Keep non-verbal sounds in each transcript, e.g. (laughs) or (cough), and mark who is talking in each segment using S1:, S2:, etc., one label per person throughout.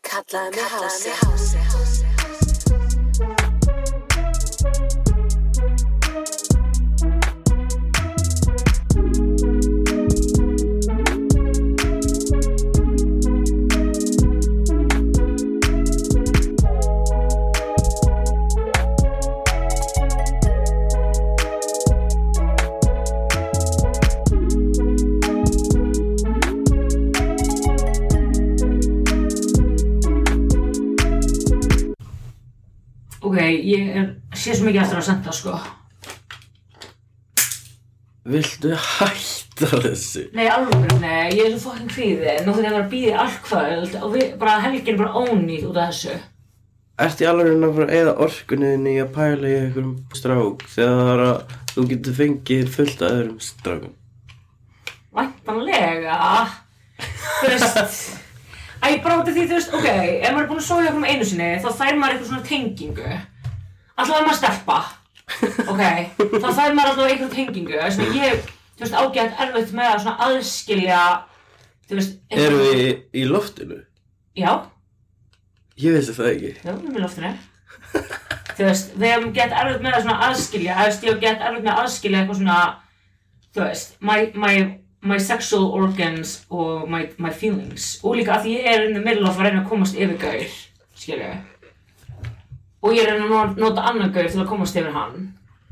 S1: kallaði mig hási
S2: Ok, ég er, sé svo mikið eftir að senda sko
S3: Viltu hætta þessu?
S2: Nei, alveg, nei, ég er svo fucking kvíði Nú þegar ég var að býði allkvöld og við, bara helgin er bara ónýtt út af þessu
S3: Ert í alveg að fara að eða orkunniðinni í að pæla í einhverjum strák þegar það er að þú getur fengið fullt af öðrum strákum?
S2: Væntanlega Þú veist Æ, bara út af því, þú veist, ok Ef maður er búin að sofa hjá okkur einu sinni þá fær maður eitthvað svona tengingu Alltaf er maður stelpa Ok, þá fær maður alltaf eitthvað tengingu Þess að ég, þú veist, ágætt erfitt með að svona aðskilja Þú veist
S3: Erum við í loftinu?
S2: Já,
S3: Ég vissi það ekki.
S2: já, við erum í loftinu Þú veist, við hefum gett erfitt með að svona aðskilja Þú veist, ég hef gett erfitt með að aðskilja eitthvað svona Þú veist, my, my, my sexual organs og my, my feelings Og líka að því ég er in the middle of að reyna að komast yfir gaur Skilju Og ég er að reyna að no- nota annan gaur til að komast yfir hann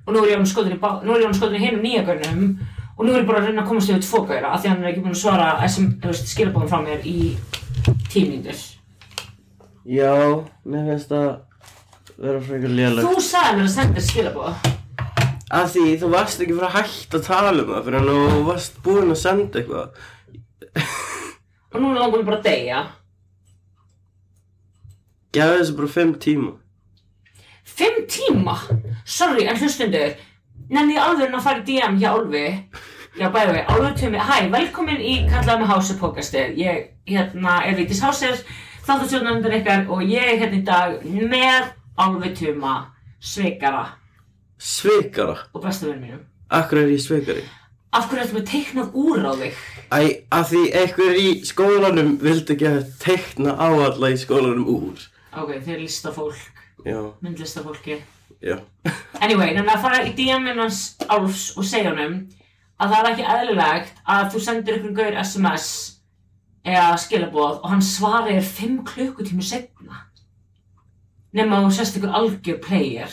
S2: Og nú er ég án skotin í, bá- nú er ég án skotin í hinum nýja gaurnum Og nú er ég bara að reyna að komast yfir tvo gaura Af því hann er ekki búin að svara SM, þú veist, skilabóðum frá mér í tímyndir
S3: Já, mér finnst það vera frekar lélega.
S2: Þú sagði mér að senda skilabóð
S3: Af því þú varst ekki fyrir að hætta að tala um það fyrir að þú varst búinn að senda eitthvað.
S2: Og núna langar mér bara að deyja.
S3: Gæði þessu bara fimm tíma.
S2: Fimm tíma? Sorry, en hlustundur. Nenni ég alveg að fara í DM hjá Álfi. Já, bæði við, Álfi Tumi. Hæ, velkomin í Kallaði með Hásir podcastið. Ég, hérna, er Vítis Hásir, þáttastjórnandur ykkar og ég er hérna í dag með Álfi Tuma, sveikara
S3: Svikara.
S2: og besta vinn mínum.
S3: Akkur er ég svikari?
S2: Af hverju ertu með teiknað úr á þig?
S3: Æ, af því einhver í skólanum vildi ekki að tekna á alla í skólanum úr.
S2: Ok, þau er listafólk,
S3: Já,
S2: myndlistafólki.
S3: já.
S2: Anyway, þannig að fara í DM-in hans Álfs og segja honum að það er ekki eðlilegt að þú sendir ykkur gaur SMS eða skilaboð og hann svarir 5 klukkutími setna nema að þú sest ykkur algjör player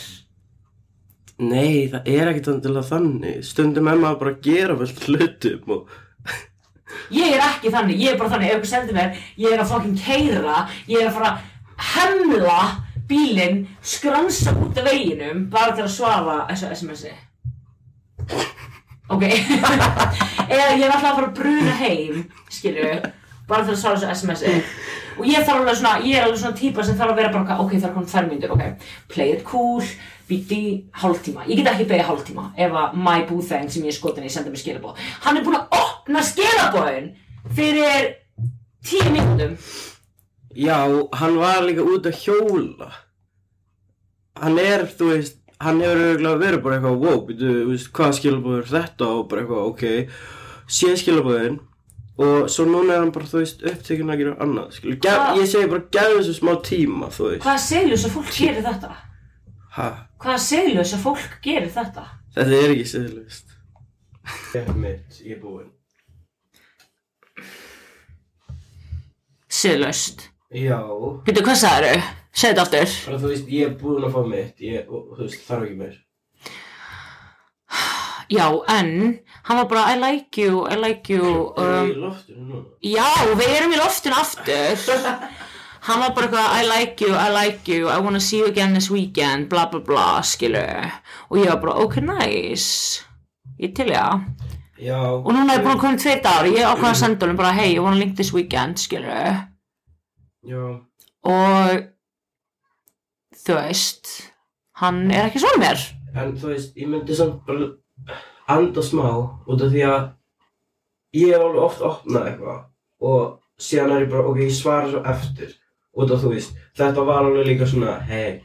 S3: Nei, það er ekkert andilega þannig. Stundum er maður bara að gera vel hlutum og...
S2: Ég er ekki þannig, ég er bara þannig, ef ykkur sendir mér ég er að fucking keira, ég er að fara að hemla bílinn skransa út af veginum bara til að svara þessu SMS-i Ok, (laughs) eða ég er alltaf að fara að bruna heim, skilju, bara til að svara þessu SMS-i. Og ég þarf alveg svona, ég er alveg svona típa sem þarf að vera bara, eitthvað, ok, það er komið tvær myndir, ok, play it cool, býti í hálftíma. Ég get ekki beðið hálftíma ef að my boo thing sem ég er skotin í senda mér skilabóð. Hann er búinn að opna skilabóðin fyrir tíu myndum.
S3: Já, hann var líka út að hjóla. Hann er, þú veist, hann hefur auðvitað verið bara eitthvað, wow, býtu, þú veist, hvað skilabóður þetta og bara eitthvað, ok, sé skilabóðin og svo núna er hann bara, þú veist, upptekinn að gera annað, skilur. Gef,
S2: Hvað-
S3: ég segi bara, gef þessu smá tíma, þú veist.
S2: Hvaða segljósa fólk gerir þetta?
S3: Ha,
S2: Hvaða segljósa fólk gerir þetta?
S3: þetta er ekki siðlust. Ég mitt, ég er búinn.
S2: Segljóst.
S3: Já,
S2: Býtu, hvað sagðu? Segðu þetta aftur.
S3: bara þú veist, ég er búinn að fá mitt, ég, og, þú veist, þarf ekki meir.
S2: Já, en hann var bara I like you, I like you um,
S3: loftinu núna?
S2: Já, við erum í loftinu aftur Hann var bara eitthvað I like you, I like you, I wanna see you again this weekend bla bla bla, skilu og ég var bara, ok, nice ég til ég að
S3: Já.
S2: og núna er búin að koma tveit ár ég ákvaða að senda honum bara, hey, I wanna link this weekend skilu
S3: Já.
S2: og þú veist hann er ekki svona mér
S3: En þú veist, ég myndi samt bara anda smá út af því að ég er alveg oft opnað eitthvað og síðan er ég bara, ok, ég svara svo eftir út af þú veist, þetta var alveg líka svona, hei,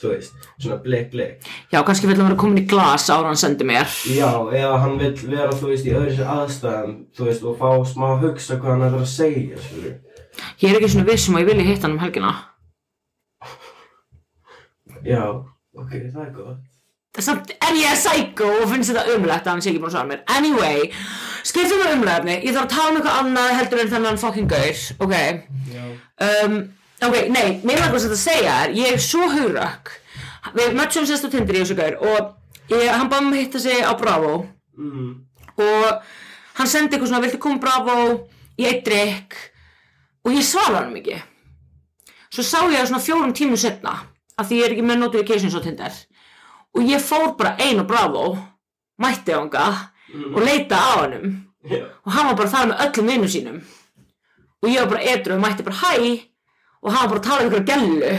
S3: þú veist, svona blik, blik.
S2: Já, kannski vil hann vera komin í glas ára hann sendi mér
S3: Já, eða hann vill vera, þú veist, í öðru sér aðstæðum, þú veist, og fá smá að hugsa hvað hann ætlar að segja, skilur.
S2: Ég er ekki svona vissum að ég vilja hitta hann um helgina.
S3: Já, ok, það er gott.
S2: Samt er ég psycho og finnst þetta umlegt að hann sé ekki búin að svara mér. Anyway, skiptum við umlegni. Ég þarf að tala um eitthvað annað heldur en þennan fucking gaur, ok?
S3: Já.
S2: Um, ok, nei, mér langar sem þetta að segja er, ég er svo hugrökk. Við möttum sérst á Tinder í þessu gaur og ég, hann bæði mig að hitta sig á Bravo.
S3: Mm.
S2: og hann sendi eitthvað svona viltu koma bravo, ég eitt drikk og ég svara hann ekki svo sá ég það svona fjórum tímum setna af því ég er ekki með notifications á Tinder og ég fór bara ein og bravo mætti á hanga og leita á hannum
S3: Já.
S2: og hann var bara þar með öllum vinnum sínum og ég var bara edru og mætti bara hæ og hann var bara að tala um ykkur gellu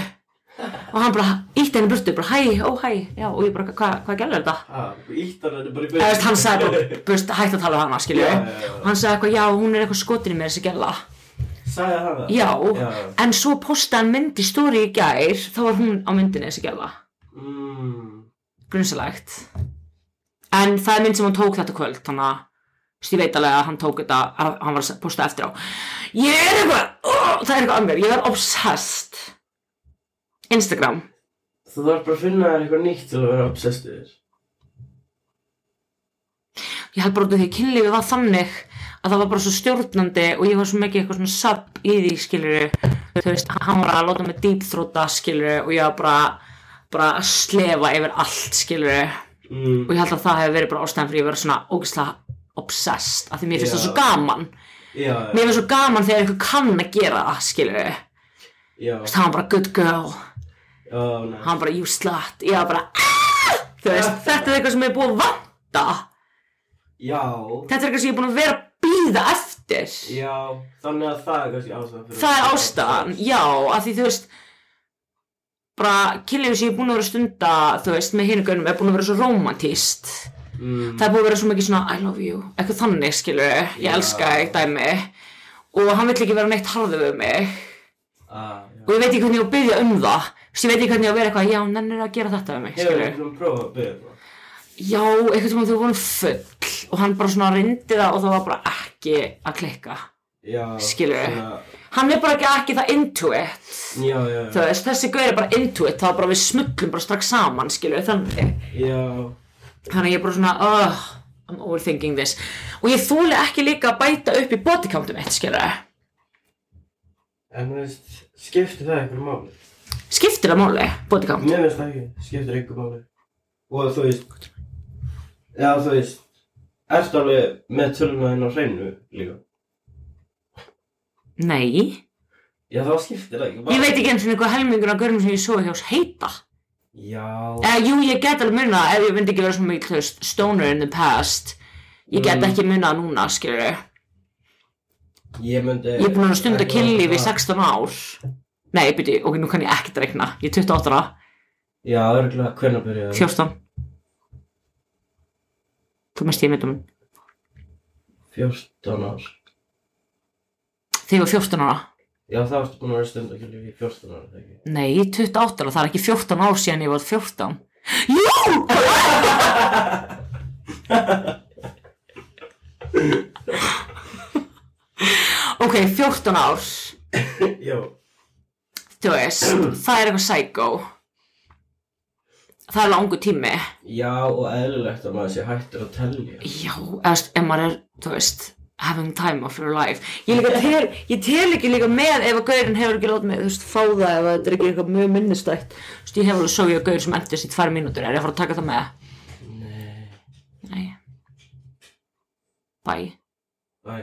S2: og hann bara ítti henni burtu bara hæ, ó hæ, já og ég bara hvað hva gellu er þetta?
S3: Ah, ítt hann þetta bara í
S2: Eða, þú veist, hann sagði bara, þú veist, hægt að tala um hana, skilju
S3: Já, já, já.
S2: og hann sagði eitthvað, já, hún er eitthvað skotin í mér þessi gæla
S3: Sagði hann það?
S2: já,
S3: Já.
S2: en svo postaði hann mynd í stóri í gær þá var hún á myndinni þessi gæla
S3: Mm.
S2: grunsalegt en það er mynd sem hann tók þetta kvöld þannig að, þú veist, ég veit alveg að hann tók þetta að hann var að posta eftir á ég er eitthvað, oh, það er eitthvað að mér ég er obsessed Instagram,
S3: Þú þarf bara að finna þér eitthvað nýtt til að vera obsessed yfir.
S2: ég held bara út af því að kynlífið var þannig að það var bara svo stjórnandi og ég var svo mikið eitthvað svona sub í því skiluru þú veist, hann var að láta mig dýpþróta skiluru og ég var bara bara að slefa yfir allt skiluru og
S3: Mm.
S2: ég held að það hefði verið bara ástæðan fyrir ég verið svona ógeðslega obsessed af því mér finnst það
S3: Já.
S2: svo gaman
S3: Já,
S2: mér finnst svo gaman þegar eitthvað kann að gera það skiluru, þú
S3: já,
S2: veist, hann var bara good girl
S3: já, næ.
S2: hann bara you slut, ég var bara "Ah!" þú veist, þetta er eitthvað sem ég er búin að vanta
S3: Já,
S2: þetta er eitthvað sem ég er búin að vera að býða eftir
S3: já, þannig að það er kannski ástæðan fyrir
S2: það er ástæðan, já, að því þú veist bara kynlífið sem ég er búin að vera að stunda þú veist, með hinu gönnum er búin að vera svo romantíst
S3: Mm.
S2: það er búin að vera svo mikið svona I love you, eitthvað þannig skilur ég
S3: Já.
S2: elska þig dæmi og hann vill ekki vera neitt harður við mig
S3: Ah, já.
S2: og ég veit ekki hvernig ég á að byggja um það þú veist, ég veit ekki hvernig ég á að vera eitthvað, já, nennir að gera þetta við mig,
S3: Hefur
S2: skilur
S3: einhvern veginn prófað að byrja það?
S2: já, eitthvað tíma þau voru full og hann bara svona reyndi það og það var bara ekki að klikka
S3: Já,
S2: Skilur.
S3: svona-
S2: hann er bara ekki, ekki það into it
S3: Já, já,
S2: Þú veist, þessi gauð er bara into it, þá bara við smullum bara strax saman, skilur við þannig.
S3: já,
S2: Þannig að ég er bara svona, oh, I'm overthinking this. Og ég þúli ekki líka að bæta upp í bodycountum mitt, skilur við.
S3: en þú veist, skiptir það einhverju máli?
S2: Skiptir það máli, bodycount?
S3: Mér finnst það ekki, skiptir einhverju máli. Og þú veist, já, þú veist, ertu alveg með töluna þinn á hreinu líka?
S2: Nei.
S3: Já, þá skiptir það ekki máli.
S2: Ég veit ekki eins og hvað helmingur af gaurum sem ég svo hjá oss heita.
S3: Já,
S2: Eða jú, ég get alveg munna ef ég myndi ekki vera svona mikið, þú veist, stoner in the past. Ég get
S3: Mm.
S2: ekki munna núna, skilur við.
S3: ég myndi...
S2: Ég er búin að stunda
S3: ekki
S2: kynlíf í
S3: það.
S2: 16 ár. Nei, byrju, ok, nú kann ég ekkert rekna. Ég er 28 ára,
S3: Já, örgulega, hvernig byrjaði það?
S2: 14 Þú mest ég myndum
S3: 14 ár.
S2: Þegar ég var 14 ára
S3: Já, þá ertu búin að vera að stunda kynlíf í 14 ára, þegar ekki?
S2: Nei, 28 ára, það er ekki 14 ár síðan ég var 14 Jú! ok, 14 ár
S3: Já.
S2: Þú veist, það er eitthvað psycho Það er langu tími
S3: Já, og eðlilegt að maður sé hættur að telja.
S2: Já, eðast, ef maður er, þú veist having time of your life ég, líka tel, ég tel ekki líka með ef að gaurin hefur ekki látið mig, þú veist, fá það ef að þetta er ekki eitthvað mjög minnistætt þú veist, ég hef alveg sögja gaur sem endist í tvær mínútur er ég að fara að taka það með? Nei Bæ
S3: Æ.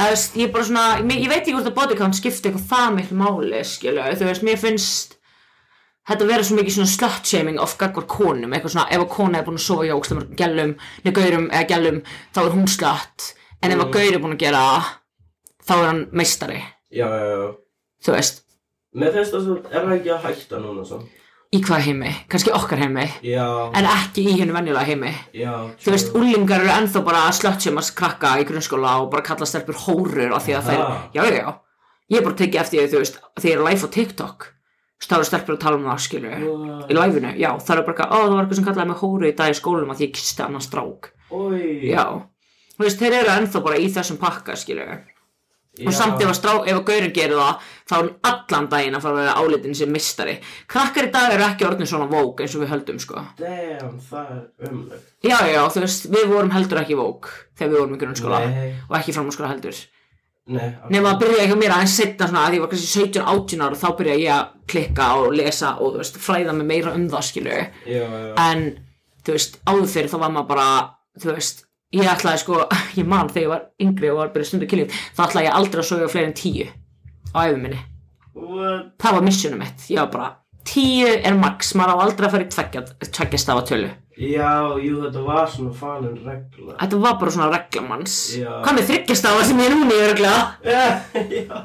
S2: eðast, ég er bara svona, ég, ég veit ekki hvort að bodycount skipti eitthvað það miklu máli, skilja þú veist, mér finnst Þetta vera svo mikið svona slut-shaming of gagvar konum, eitthvað svona ef að kona er búin að sofa hjá ógstlega mörgum gælum, neða gaurum eða gælum, þá er hún slut en ef að
S3: Mm.
S2: gaur er búin að gera það, þá er hann meistari,
S3: Já, já, já.
S2: þú veist,
S3: Mér finnst það svo, er það ekki að hætta núna svo?
S2: í hvað heimi, kannski okkar heimi,
S3: Já,
S2: en ekki í hennu venjulega heimi.
S3: já.
S2: Þú veist, úlingar eru ennþá bara að slut-shamast krakka í grunnskóla og bara kalla stelpur hórur af því að þær,
S3: Ah.
S2: já, já, já, ég er bara að tekið eftir því, þú veist, þegar ég er live á TikTok, þú veist, þá eru stelpur að tala um það, skilur í læfinu, já, það er bara eitthvað, ó, það var eitthvað sem kallaði mig hóru í dag í skólanum að því ég kisti annan strák,
S3: Úi.
S2: já, þú veist, þeir eru ennþá bara í þessum pakka, skilur, og samt ef að strá, ef að gaurin gerir það þá er hann allan daginn að fara að vera álitin sem mistari krakkar í dag eru ekki orðin svona vók eins og við höldum sko
S3: Damn, það er umleg
S2: já já þú veist við vorum heldur ekki vók þegar við vorum í grunnskóla
S3: Nei.
S2: og ekki framhanskóla heldur
S3: Nei,
S2: nema að byrja ekki mér aðeins setna svona að því ég var kannski 17-18 ára þá byrja ég að klikka og lesa og þú veist fræða mig meira um það skilur
S3: já, já,
S2: en þú veist áður fyrir þá var maður bara þú veist ég ætlaði sko (laughs) ég man þegar ég var yngri og var að byrja stundu kynlíf þá ætlaði ég aldrei að sofa fleiri en tíu á æfum minni
S3: what?
S2: það var missionum mitt ég var bara tíu er max maður á aldrei að fara í tveggja, tveggja stafa tölu
S3: Já, jú, þetta var svona falin
S2: (laughs)
S3: regla
S2: þetta var bara svona reglamanns
S3: Já.
S2: hvað með þryggja stafa sem ég er núna í örglega
S3: Já, já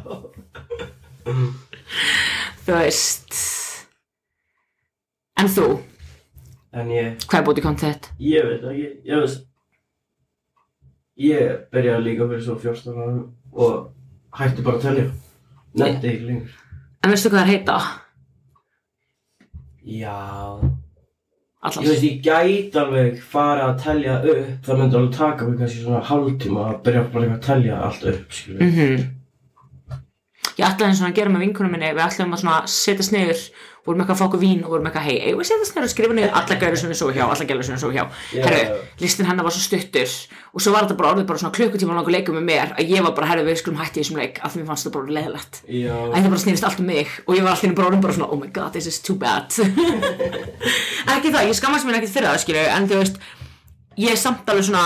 S2: þú veist en þú
S3: En ég,
S2: hvað er bútið kontent
S3: ég veit ekki, ég veist Ég byrjaði líka fyrir svo 14 árum og hætti bara að telja Nefndi ekki lengur
S2: en veistu hvað það er heita
S3: Já, ég
S2: alltaf
S3: veist, ég gæti alveg fara að telja upp Það myndi alveg taka mig kannski svona hálftíma að byrja bara eitthvað að telja allt upp, skilur
S2: mm ég ætlaði eins og að gera með vinkunum minni við ætlaðum að svona setjast niður vorum eitthvað að fá okkur vín og vorum eitthvað hei eigum við að setjast niður og skrifa niður alla gæri sem við svo hjá alla gæri sem við svo hjá
S3: Já.
S2: herru, listin hennar var svo stuttur og svo var þetta bara orðið bara svona klukkutíma langur leikum með mér að ég var bara herru við skulum hætti í þessum leik af því mér fannst það bara leðilegt
S3: Já,
S2: að það bara snýrist allt um mig og ég var allir bara orðin bara svona oh my god this is too bad (laughs) ekki það, ég skammast mér ekkert fyrir það skilju en þú veist, ég er samt alveg svona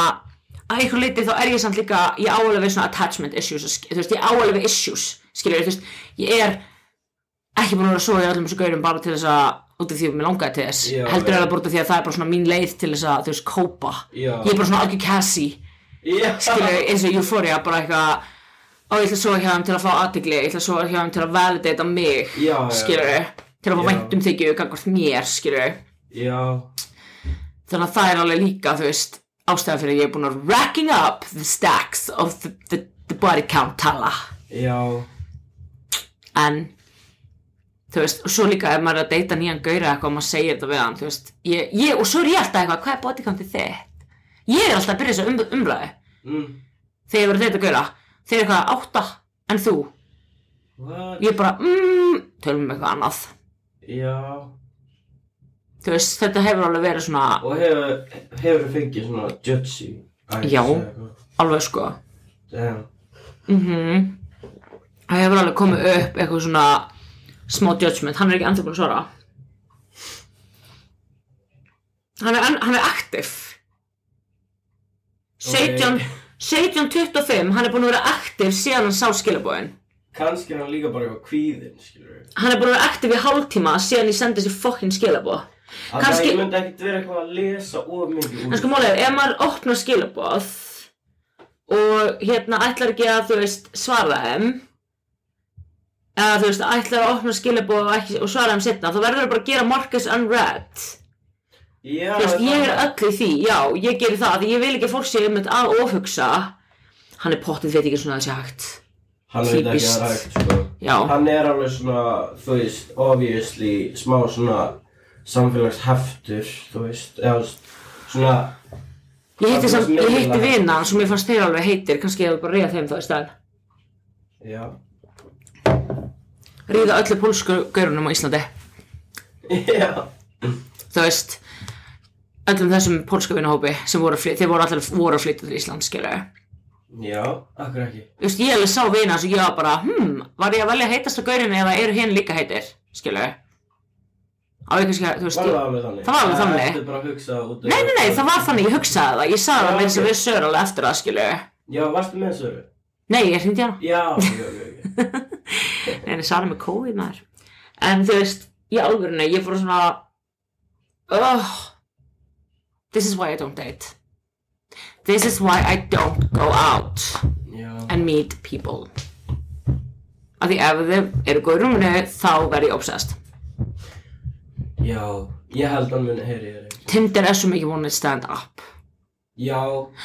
S2: að einhver leiti þá er ég samt líka ég á alveg við svona attachment issues sk- þú veist, ég á alveg við issues skilju, þú veist, ég er ekki búin að vera svo í öllum þessu gaurum bara til þess að út af því að mér langaði til þess
S3: Já,
S2: heldur
S3: já.
S2: er það bara út af því að það er bara svona mín leið til þess að þú veist, kópa
S3: Já.
S2: ég er bara svona algjör Cassie
S3: já
S2: skilur eins og euphoria bara eitthvað ó ég ætla að sofa hjá þeim til að fá aðtegli ég ætla að sofa hjá þeim til að validata mig
S3: Já, já.
S2: skilur til að fá
S3: Já.
S2: væntum þykju gangvart mér skilur
S3: Já,
S2: þannig að það er alveg líka þú veist ástæða fyrir að ég er búin að racking up the stacks of the, the, the body count tala
S3: já,
S2: en þú veist, og svo líka ef maður er að deyta nýjan gaura eitthvað og maður segir þetta við hann þú veist, ég, ég, og svo er ég alltaf eitthvað, hvað er body countið þitt? ég er alltaf að byrja þessu um, umræðu
S3: mm,
S2: þegar ég verið þetta gaura þeir eru eitthvað átta en þú
S3: what?
S2: ég bara, mmm, tölum um eitthvað annað
S3: Já,
S2: þú veist, þetta hefur alveg verið svona
S3: og hefur, hefur fengið svona judgy eyes
S2: Já.
S3: eða eitthvað?
S2: alveg sko
S3: Damn.
S2: mm það hefur alveg komið upp eitthvað svona smá judgment, hann er ekki ennþá búin að svara hann er, enn- hann er aktiv 17 17.25, hann er búin að vera aktiv síðan hann sá skilabóðin
S3: Kannski er hann líka bara eitthvað kvíðinn, skilur við
S2: hann er búin að vera aktiv í hálftíma síðan ég sendi þessi fokkin skilabóð
S3: Þannig að
S2: Kannski-
S3: ég myndi ekkert vera eitthvað að lesa of mikið úr
S2: En sko málið, er, ef maður opnar skilabóð og hérna ætlar ekki að þú veist svara þeim eða þú veist ætlar að opna skilabóð og, ekki, og svara þeim setna þá verður það bara að gera Marcus unread
S3: Já,
S2: þú veist,
S3: það-
S2: ég er öll í því, já, ég gerir það því ég vil ekki að fólk sé um þetta að ofhugsa hann er pottið veit ekki svona þessi hægt
S3: Hann veit ekki
S2: Típist.
S3: að rægt, sko
S2: já,
S3: Hann er alveg svona, þú veist, obviously smá svona samfélagsheftur, þú veist Eða svona,
S2: ég hitti,
S3: Hann er
S2: sem, ég hitti
S3: snillilega.
S2: vina sem ég fannst þeir alveg heitir kannski ég hefði bara reyða þeim þá í stæðan
S3: já (laughs)
S2: reyða öllu pólsku gaurunum á Íslandi
S3: Já,
S2: þú veist öllum þessum pólska vinahópi sem voru að flytja, þeir voru allir voru að flytja til Ísland skilja
S3: já, akkur ekki
S2: þú veist, ég alveg sá vina sem ég var bara hmm, var ég að velja heitasta gaurinn eða eru hinn líka heitir skilja á ég kannski að, þú veist
S3: Var það
S2: ég...
S3: alveg þannig?
S2: Það var alveg þannig.
S3: Þetta er bara að hugsa út um-
S2: nei, nei, nei, það var þannig, ég hugsaði það ég sagði
S3: Já,
S2: það með þess
S3: ok.
S2: að við sör alveg eftir það skilja
S3: Já, varstu með þessu?
S2: nei, ég hringdi hana,
S3: Já, já, já, já
S2: nei, ég sagði með COVID maður en þú veist, í alvörinu ég fór svona oh, this is why I don't date this is why I don't go out
S3: Já,
S2: and meet people af því ef þau eru góð í rúminu þá verð ég obsessed
S3: já, ég held hann muni heyri þér ekki.
S2: Tinder er svo mikið vonið stand up
S3: Já,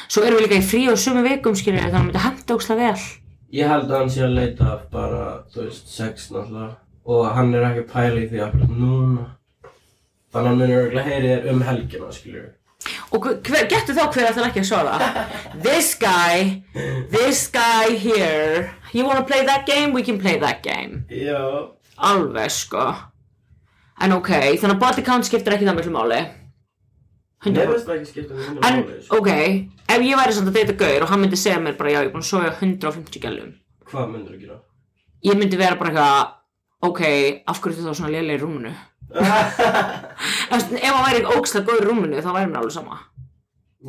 S2: svo erum við líka í frí og sumu vikum skilur þannig að það myndi henda ókslega vel
S3: ég held að hann sé að leita af bara, þú veist, sex náttúrulega og hann er ekki að pæla í því akkurat núna þannig að hann muni örgulega heyri þér um helgina, skiljur
S2: og og hver, getur þá hver ætlar ekki að svara this guy this guy here you wanna play that game, we can play that game
S3: Já.
S2: alveg sko en ok, þannig að body count skiptir ekki það miklu máli 100%.
S3: Mér finnst það ekki skipta með minna
S2: En,
S3: máli, sko.
S2: ok, ef ég væri samt að deyta gaur og hann myndi segja mér bara já, ég er búin að sofa hjá 150 gælum
S3: Hvað myndir þú
S2: (laughs)
S3: gera?
S2: Ég myndi vera bara eitthvað, ok, af hverju ertu þá svona lélega í rúminu? Ef ef hann væri ógslag góður í rúminu, þá væri mér alveg sama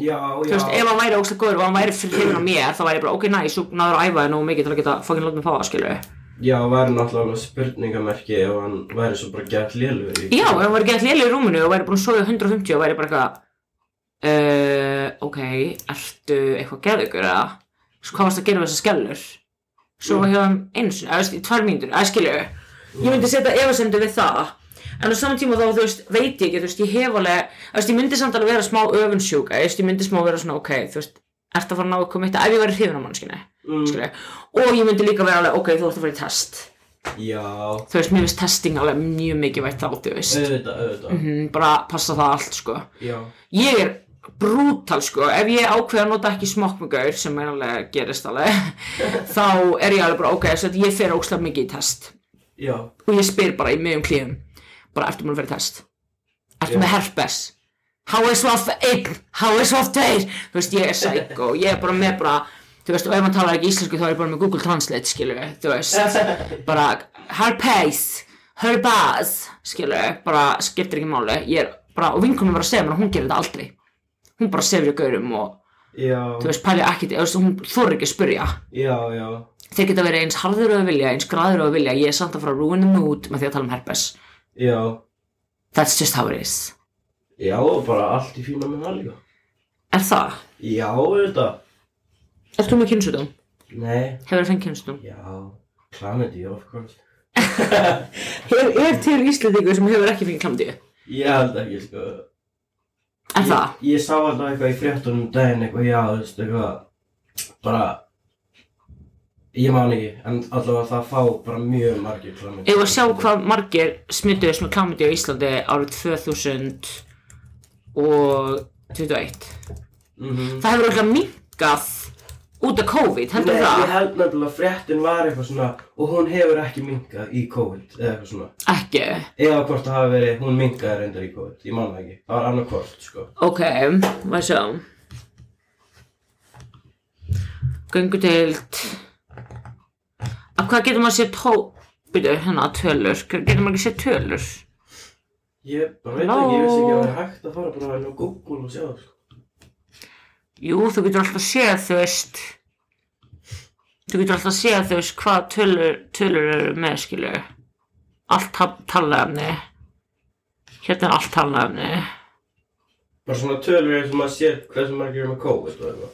S3: Já,
S2: Þú
S3: já.
S2: veist, ef hann væri ógslag góður og hann væri fyrir hrifin á mér, þá væri ég bara, ok, næ, svo náður að æfa þig nógu mikið til að geta fucking látt mig fá það, skilu
S3: Já, væri náttúrulega með spurningamerki ef hann væri svo bara gett lélur í.
S2: Já, ef hann væri gett lélega í rúminu og væri búin að sofa hjá 150 og væri bara eitthvað, uh, ok, ertu eitthvað geðugur eða? Svo hvað varst að gera við þessar skellur? Sofa hjá þeim eins, eða veist, í tvær mínútur, eða skilu Ég myndi setja efasendu við það En á saman tíma þá, þú veist, veit ég ekki, þú veist, ég hef alveg, þú veist, ég myndi samt alveg vera smá öfunnsjúka, þú veist, ég myndi smá vera svona, ok, þú veist, ert að fara að ná að koma eitt, ef ég væri hrifin á mannskinni,
S3: Mm.
S2: skilja, og ég myndi líka vera alveg, ok, þú ert að fara í test,
S3: Já,
S2: þú veist, mér finnst testing alveg mjög mikið vægt þá, þú veist,
S3: auðvitað, auðvitað.
S2: Mhm, bara passa það allt, sko,
S3: Já.
S2: ég er brútal, sko, ef ég ákveða að nota ekki smokk með gaur, sem er alveg gerist alveg, (laughs) þá er ég alveg bara, ok, svo ég fer óslega mikið í test,
S3: Já.
S2: og ég spyr bara í miðjum klíðum bara ertu maður að vera í test ertu
S3: Já.
S2: með herpes HSVF 1, HSVF 2 þú veist ég er psycho, ég er bara með bara þú veist og ef maður talar ekki íslensku þá er ég bara með Google Translate skilur við, þú veist bara herpes herpes, skilur við, bara skiptir ekki máli, ég er bara og vinkunum var að segja mér að hún gerir þetta aldrei hún bara sefur í gaurum og
S3: Já.
S2: þú veist pæli ekki, þú veist, hún þorir ekki að spyrja
S3: Já, já.
S2: þeir geta verið eins harður og að vilja, eins graður og að vilja ég er samt að fara að ruin the mood með því að tala um herpes
S3: Já.
S2: That's just how it is.
S3: Já, og bara allt í fína með það líka.
S2: Er það?
S3: Já, auðvitað.
S2: Ert þú með kynsjúdóm?
S3: Nei.
S2: Hefur það fengið kynsjúdóm?
S3: Já. Klamidi, of course.
S2: Er, er til Íslandingur sem hefur ekki fengið klamdíu?
S3: Ég held ekki, sko.
S2: Er það?
S3: Ég, ég sá alltaf eitthvað í fréttunum um daginn eitthvað, já, þú veist, eitthvað, bara, ég man ekki, en allavega það fá bara mjög margir klamið.
S2: Ef að sjá hvað margir smituðist með klamdíu í Íslandi árið 2021.
S3: Mm -hmm.
S2: Það hefur alltaf minkað út af COVID, heldur
S3: Nei, ég
S2: það?
S3: held nefnilega að fréttin var eitthvað svona, og hún hefur ekki minkað í COVID, eða eitthvað svona.
S2: Ekki.
S3: Eða hvort það hafi verið, hún minkaði reyndar í COVID, ég man það ekki. Það var annað hvort, sko.
S2: Ok, maður sjá. Göngudeild. Af hvað getur maður sér tó... Býtu, hérna, tölur. Getur maður ekki sér tölur?
S3: Ég bara veit ekki, ég vissi ekki að það er hægt að fara bara inn á Google og sjá það, sko.
S2: Jú, þú getur alltaf séð, þú veist Þú getur alltaf séð, þú veist, hvað tölur, tölur eru með, skilu Allt ta- talnaefni Hérna er allt talnaefni
S3: Bara svona tölur eins og maður sér hversu margir eru með COVID og eitthvað.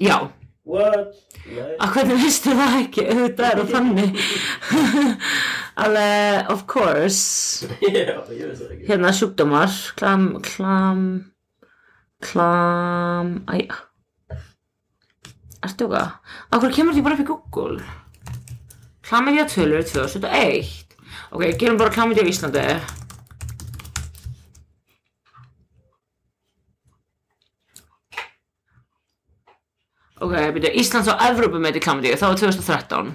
S2: Já,
S3: What? Nei. (laughs)
S2: að hvernig veistu það ekki, auðvitað er það þannig (laughs) Alveg, of course
S3: Já, ég vissi það ekki.
S2: Hérna sjúkdómar, klam, klam, klam, æ Ertu okkar? Akkur kemur því bara upp í Google? Klamidja tölur 2001 Ok, gerum bara klamidja í Íslandi Ok, byrja, Íslands og Evrópu meiti klamidja, það var 2013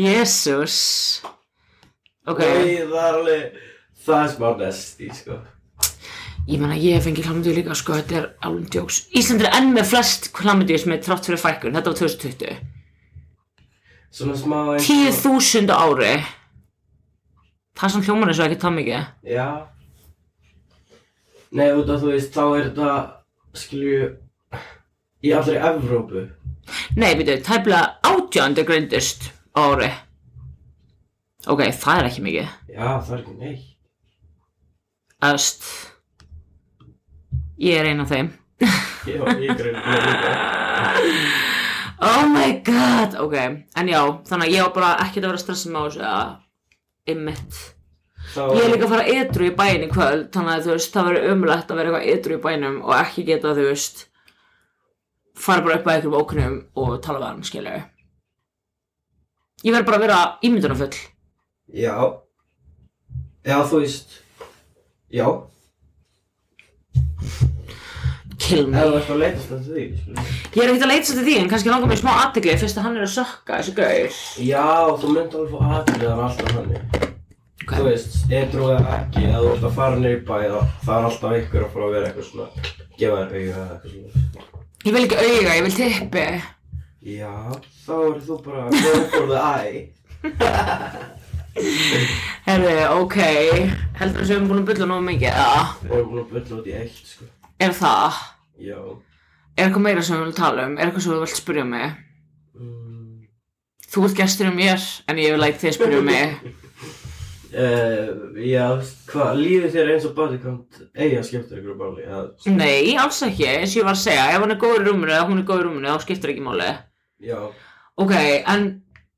S2: Jesus Ok,
S3: Nei, það er alveg, það er smá nesti, sko.
S2: ég meina ég hef fengið klamidja líka, sko, þetta er alveg djóks Ísland er enn með flest klamidja sem er trátt fyrir fækkun, þetta var 2020
S3: Svona smá eins
S2: tíu þúsund ári það sem hljómar eins og ekki það mikið
S3: Já. Nei, út af þú veist, þá er þetta, skilju, í allri Evrópu.
S2: nei, býtu, tæplega átjándu greindust á ári ok, það er ekki mikið
S3: Já, það er ekki neitt.
S2: Öst ég er ein af þeim
S3: Já, ég greið það líka.
S2: oh my god, ok en já, þannig að ég á bara ekkert að vera að stressa mig á þessu að ymmit
S3: Þá,
S2: ég er líka að fara ytru í bæin í kvöld þannig að þú veist, það verður umlegt að vera eitthvað ytru í bænum og ekki geta, þú veist fara bara upp að einhverjum ókunnum og tala við hann, skilju ég verð bara að vera ímyndunarfull
S3: Já. Já, þú veist, Já,
S2: kill
S3: ef
S2: me
S3: þú ert að leitast að því skilur.
S2: ég er ekkert að leita svolítið því en kannski langar mér smá aðtegli fyrst að hann er að sökka þessu gauð
S3: Já, þú myndi alveg fá aðriðan alltaf þannig Þú veist, edru eða ekki, ef þú ert að fara niður í bæ þá það er alltaf ykkur að fara að vera eitthvað svona gefa þér auga eða eitthvað svona
S2: ég vil ekki auga, ég vil tippi
S3: Já, þá er þú bara go for the eye
S2: herru, ok heldur þess að við erum búin að bylla nógu mikið eða?
S3: Við erum búin að bylla út í eitt, sko
S2: er það,
S3: Já
S2: er eitthvað meira sem við viljum tala um er eitthvað sem við vilt spyrja mig
S3: mm.
S2: þú ert gestur um mér en ég vil læt þig spyrja um mig
S3: uh, Já, þú veist, hvað, lífið þér eins og bodycount eiga skemmtir ykkur báli eða,
S2: nei, alls ekki, eins og ég var að segja ef hann er góður í rúminu eða hún er góður í rúminu þá skiptir ekki máli
S3: Já
S2: ok, en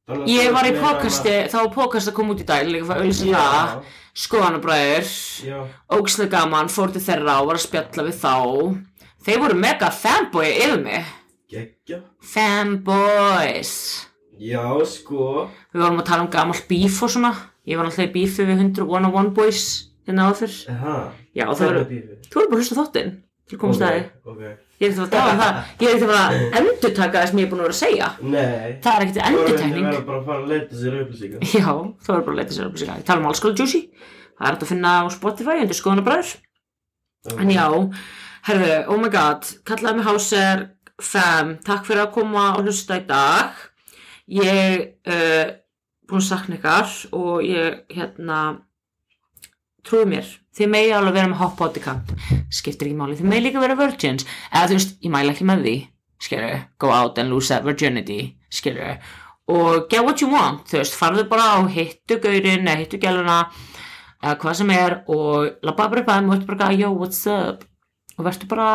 S3: þannig að
S2: ég
S3: þú
S2: var í
S3: ert meira
S2: podcasti þá var podcast að koma út í dag líka fyrir að auðvitað það
S3: að-
S2: skoðanabræður,
S3: Já, já
S2: ógslega gaman fór til þeirra og var að spjalla við þá þeir voru mega fanboy yfir mig
S3: Gekkja
S2: fanboys
S3: Já, sko
S2: við vorum að tala um gamal bíf og svona ég var alltaf í bífi við 100 one on one boys hérna á fyrr
S3: Aha
S2: já, það voru,
S3: bífið
S2: þú voru bara að hlusta á þáttinn til komast okay.
S3: Ok, ok
S2: að þið ég er ekkert að tala um það ég er ekkert að fara að endurtaka það sem ég er búin að vera að segja
S3: Nei
S2: það er ekkert
S3: Það
S2: endurtekning
S3: verður bara að fara að leita sér upplýsingar
S2: Já, það verður bara að leita sér upp Ég tala um alls konar juicy Það er þetta að finna á Spotify undir skoðanabræður En já, herðu, oh my god Kallaði mig Háser Fem, takk fyrir að koma og hlusta í dag Ég uh, búin að sakna ykkar og ég hérna trúið mér, þið megi alveg vera með hot body count, skiptir ekki máli þið megi líka vera virgins, eða þú veist ég mæla ekki með því, skeru go out and lose that virginity, skeru og get what you want, þú veist farðu bara á hittu gaurinn eða hittu gæluna, eða hvað sem er og labba bara upp að þeim og verður bara eitthvað, yo what's up, og verður bara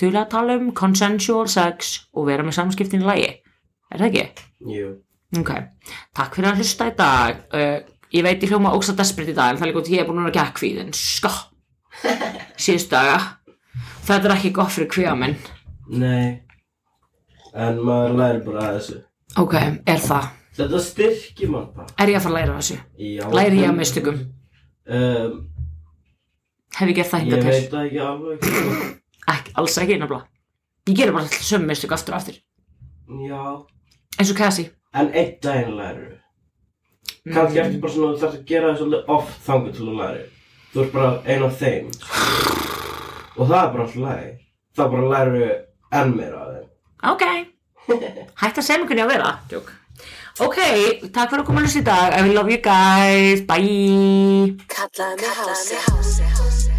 S2: duðlega að tala um consensual sex og vera með samskiptin í lagi er það ekki?
S3: Jú
S2: Ok, takk fyrir að hlusta í dag uh, Ég veit ég hljóma ógst að desperate í dag En það er líka út ég er búin að vera gekk kvíðin Sko Síðustu daga Þetta er ekki gott fyrir kvíða minn
S3: Nei En maður læri bara að þessu
S2: Ok, er það
S3: Þetta styrkir mann bara
S2: Er ég að fara að læra af þessu?
S3: Já,
S2: Læri ég af mistökum?
S3: Um,
S2: Hef ég gert það
S3: ég
S2: hingað til?
S3: veit það ekki alveg
S2: Ekki, alls ekki nefnilega Ég gerir bara alltaf sömu mistök aftur og aftur
S3: Já
S2: Eins og Cassie
S3: En einn daginn læri
S2: Mm.
S3: Kannski ertu bara svona þú þarf að gera það svolítið oft þangu til að læri Þú ert bara ein af þeim sko. Og það er bara alltaf læri Það bara læri enn meira af þeim
S2: Ok Hætt að segja mig hvernig ég á að vera Jók Ok, takk fyrir að koma að hlusta í dag I love you guys, bye
S1: Kallaðu mig Hási.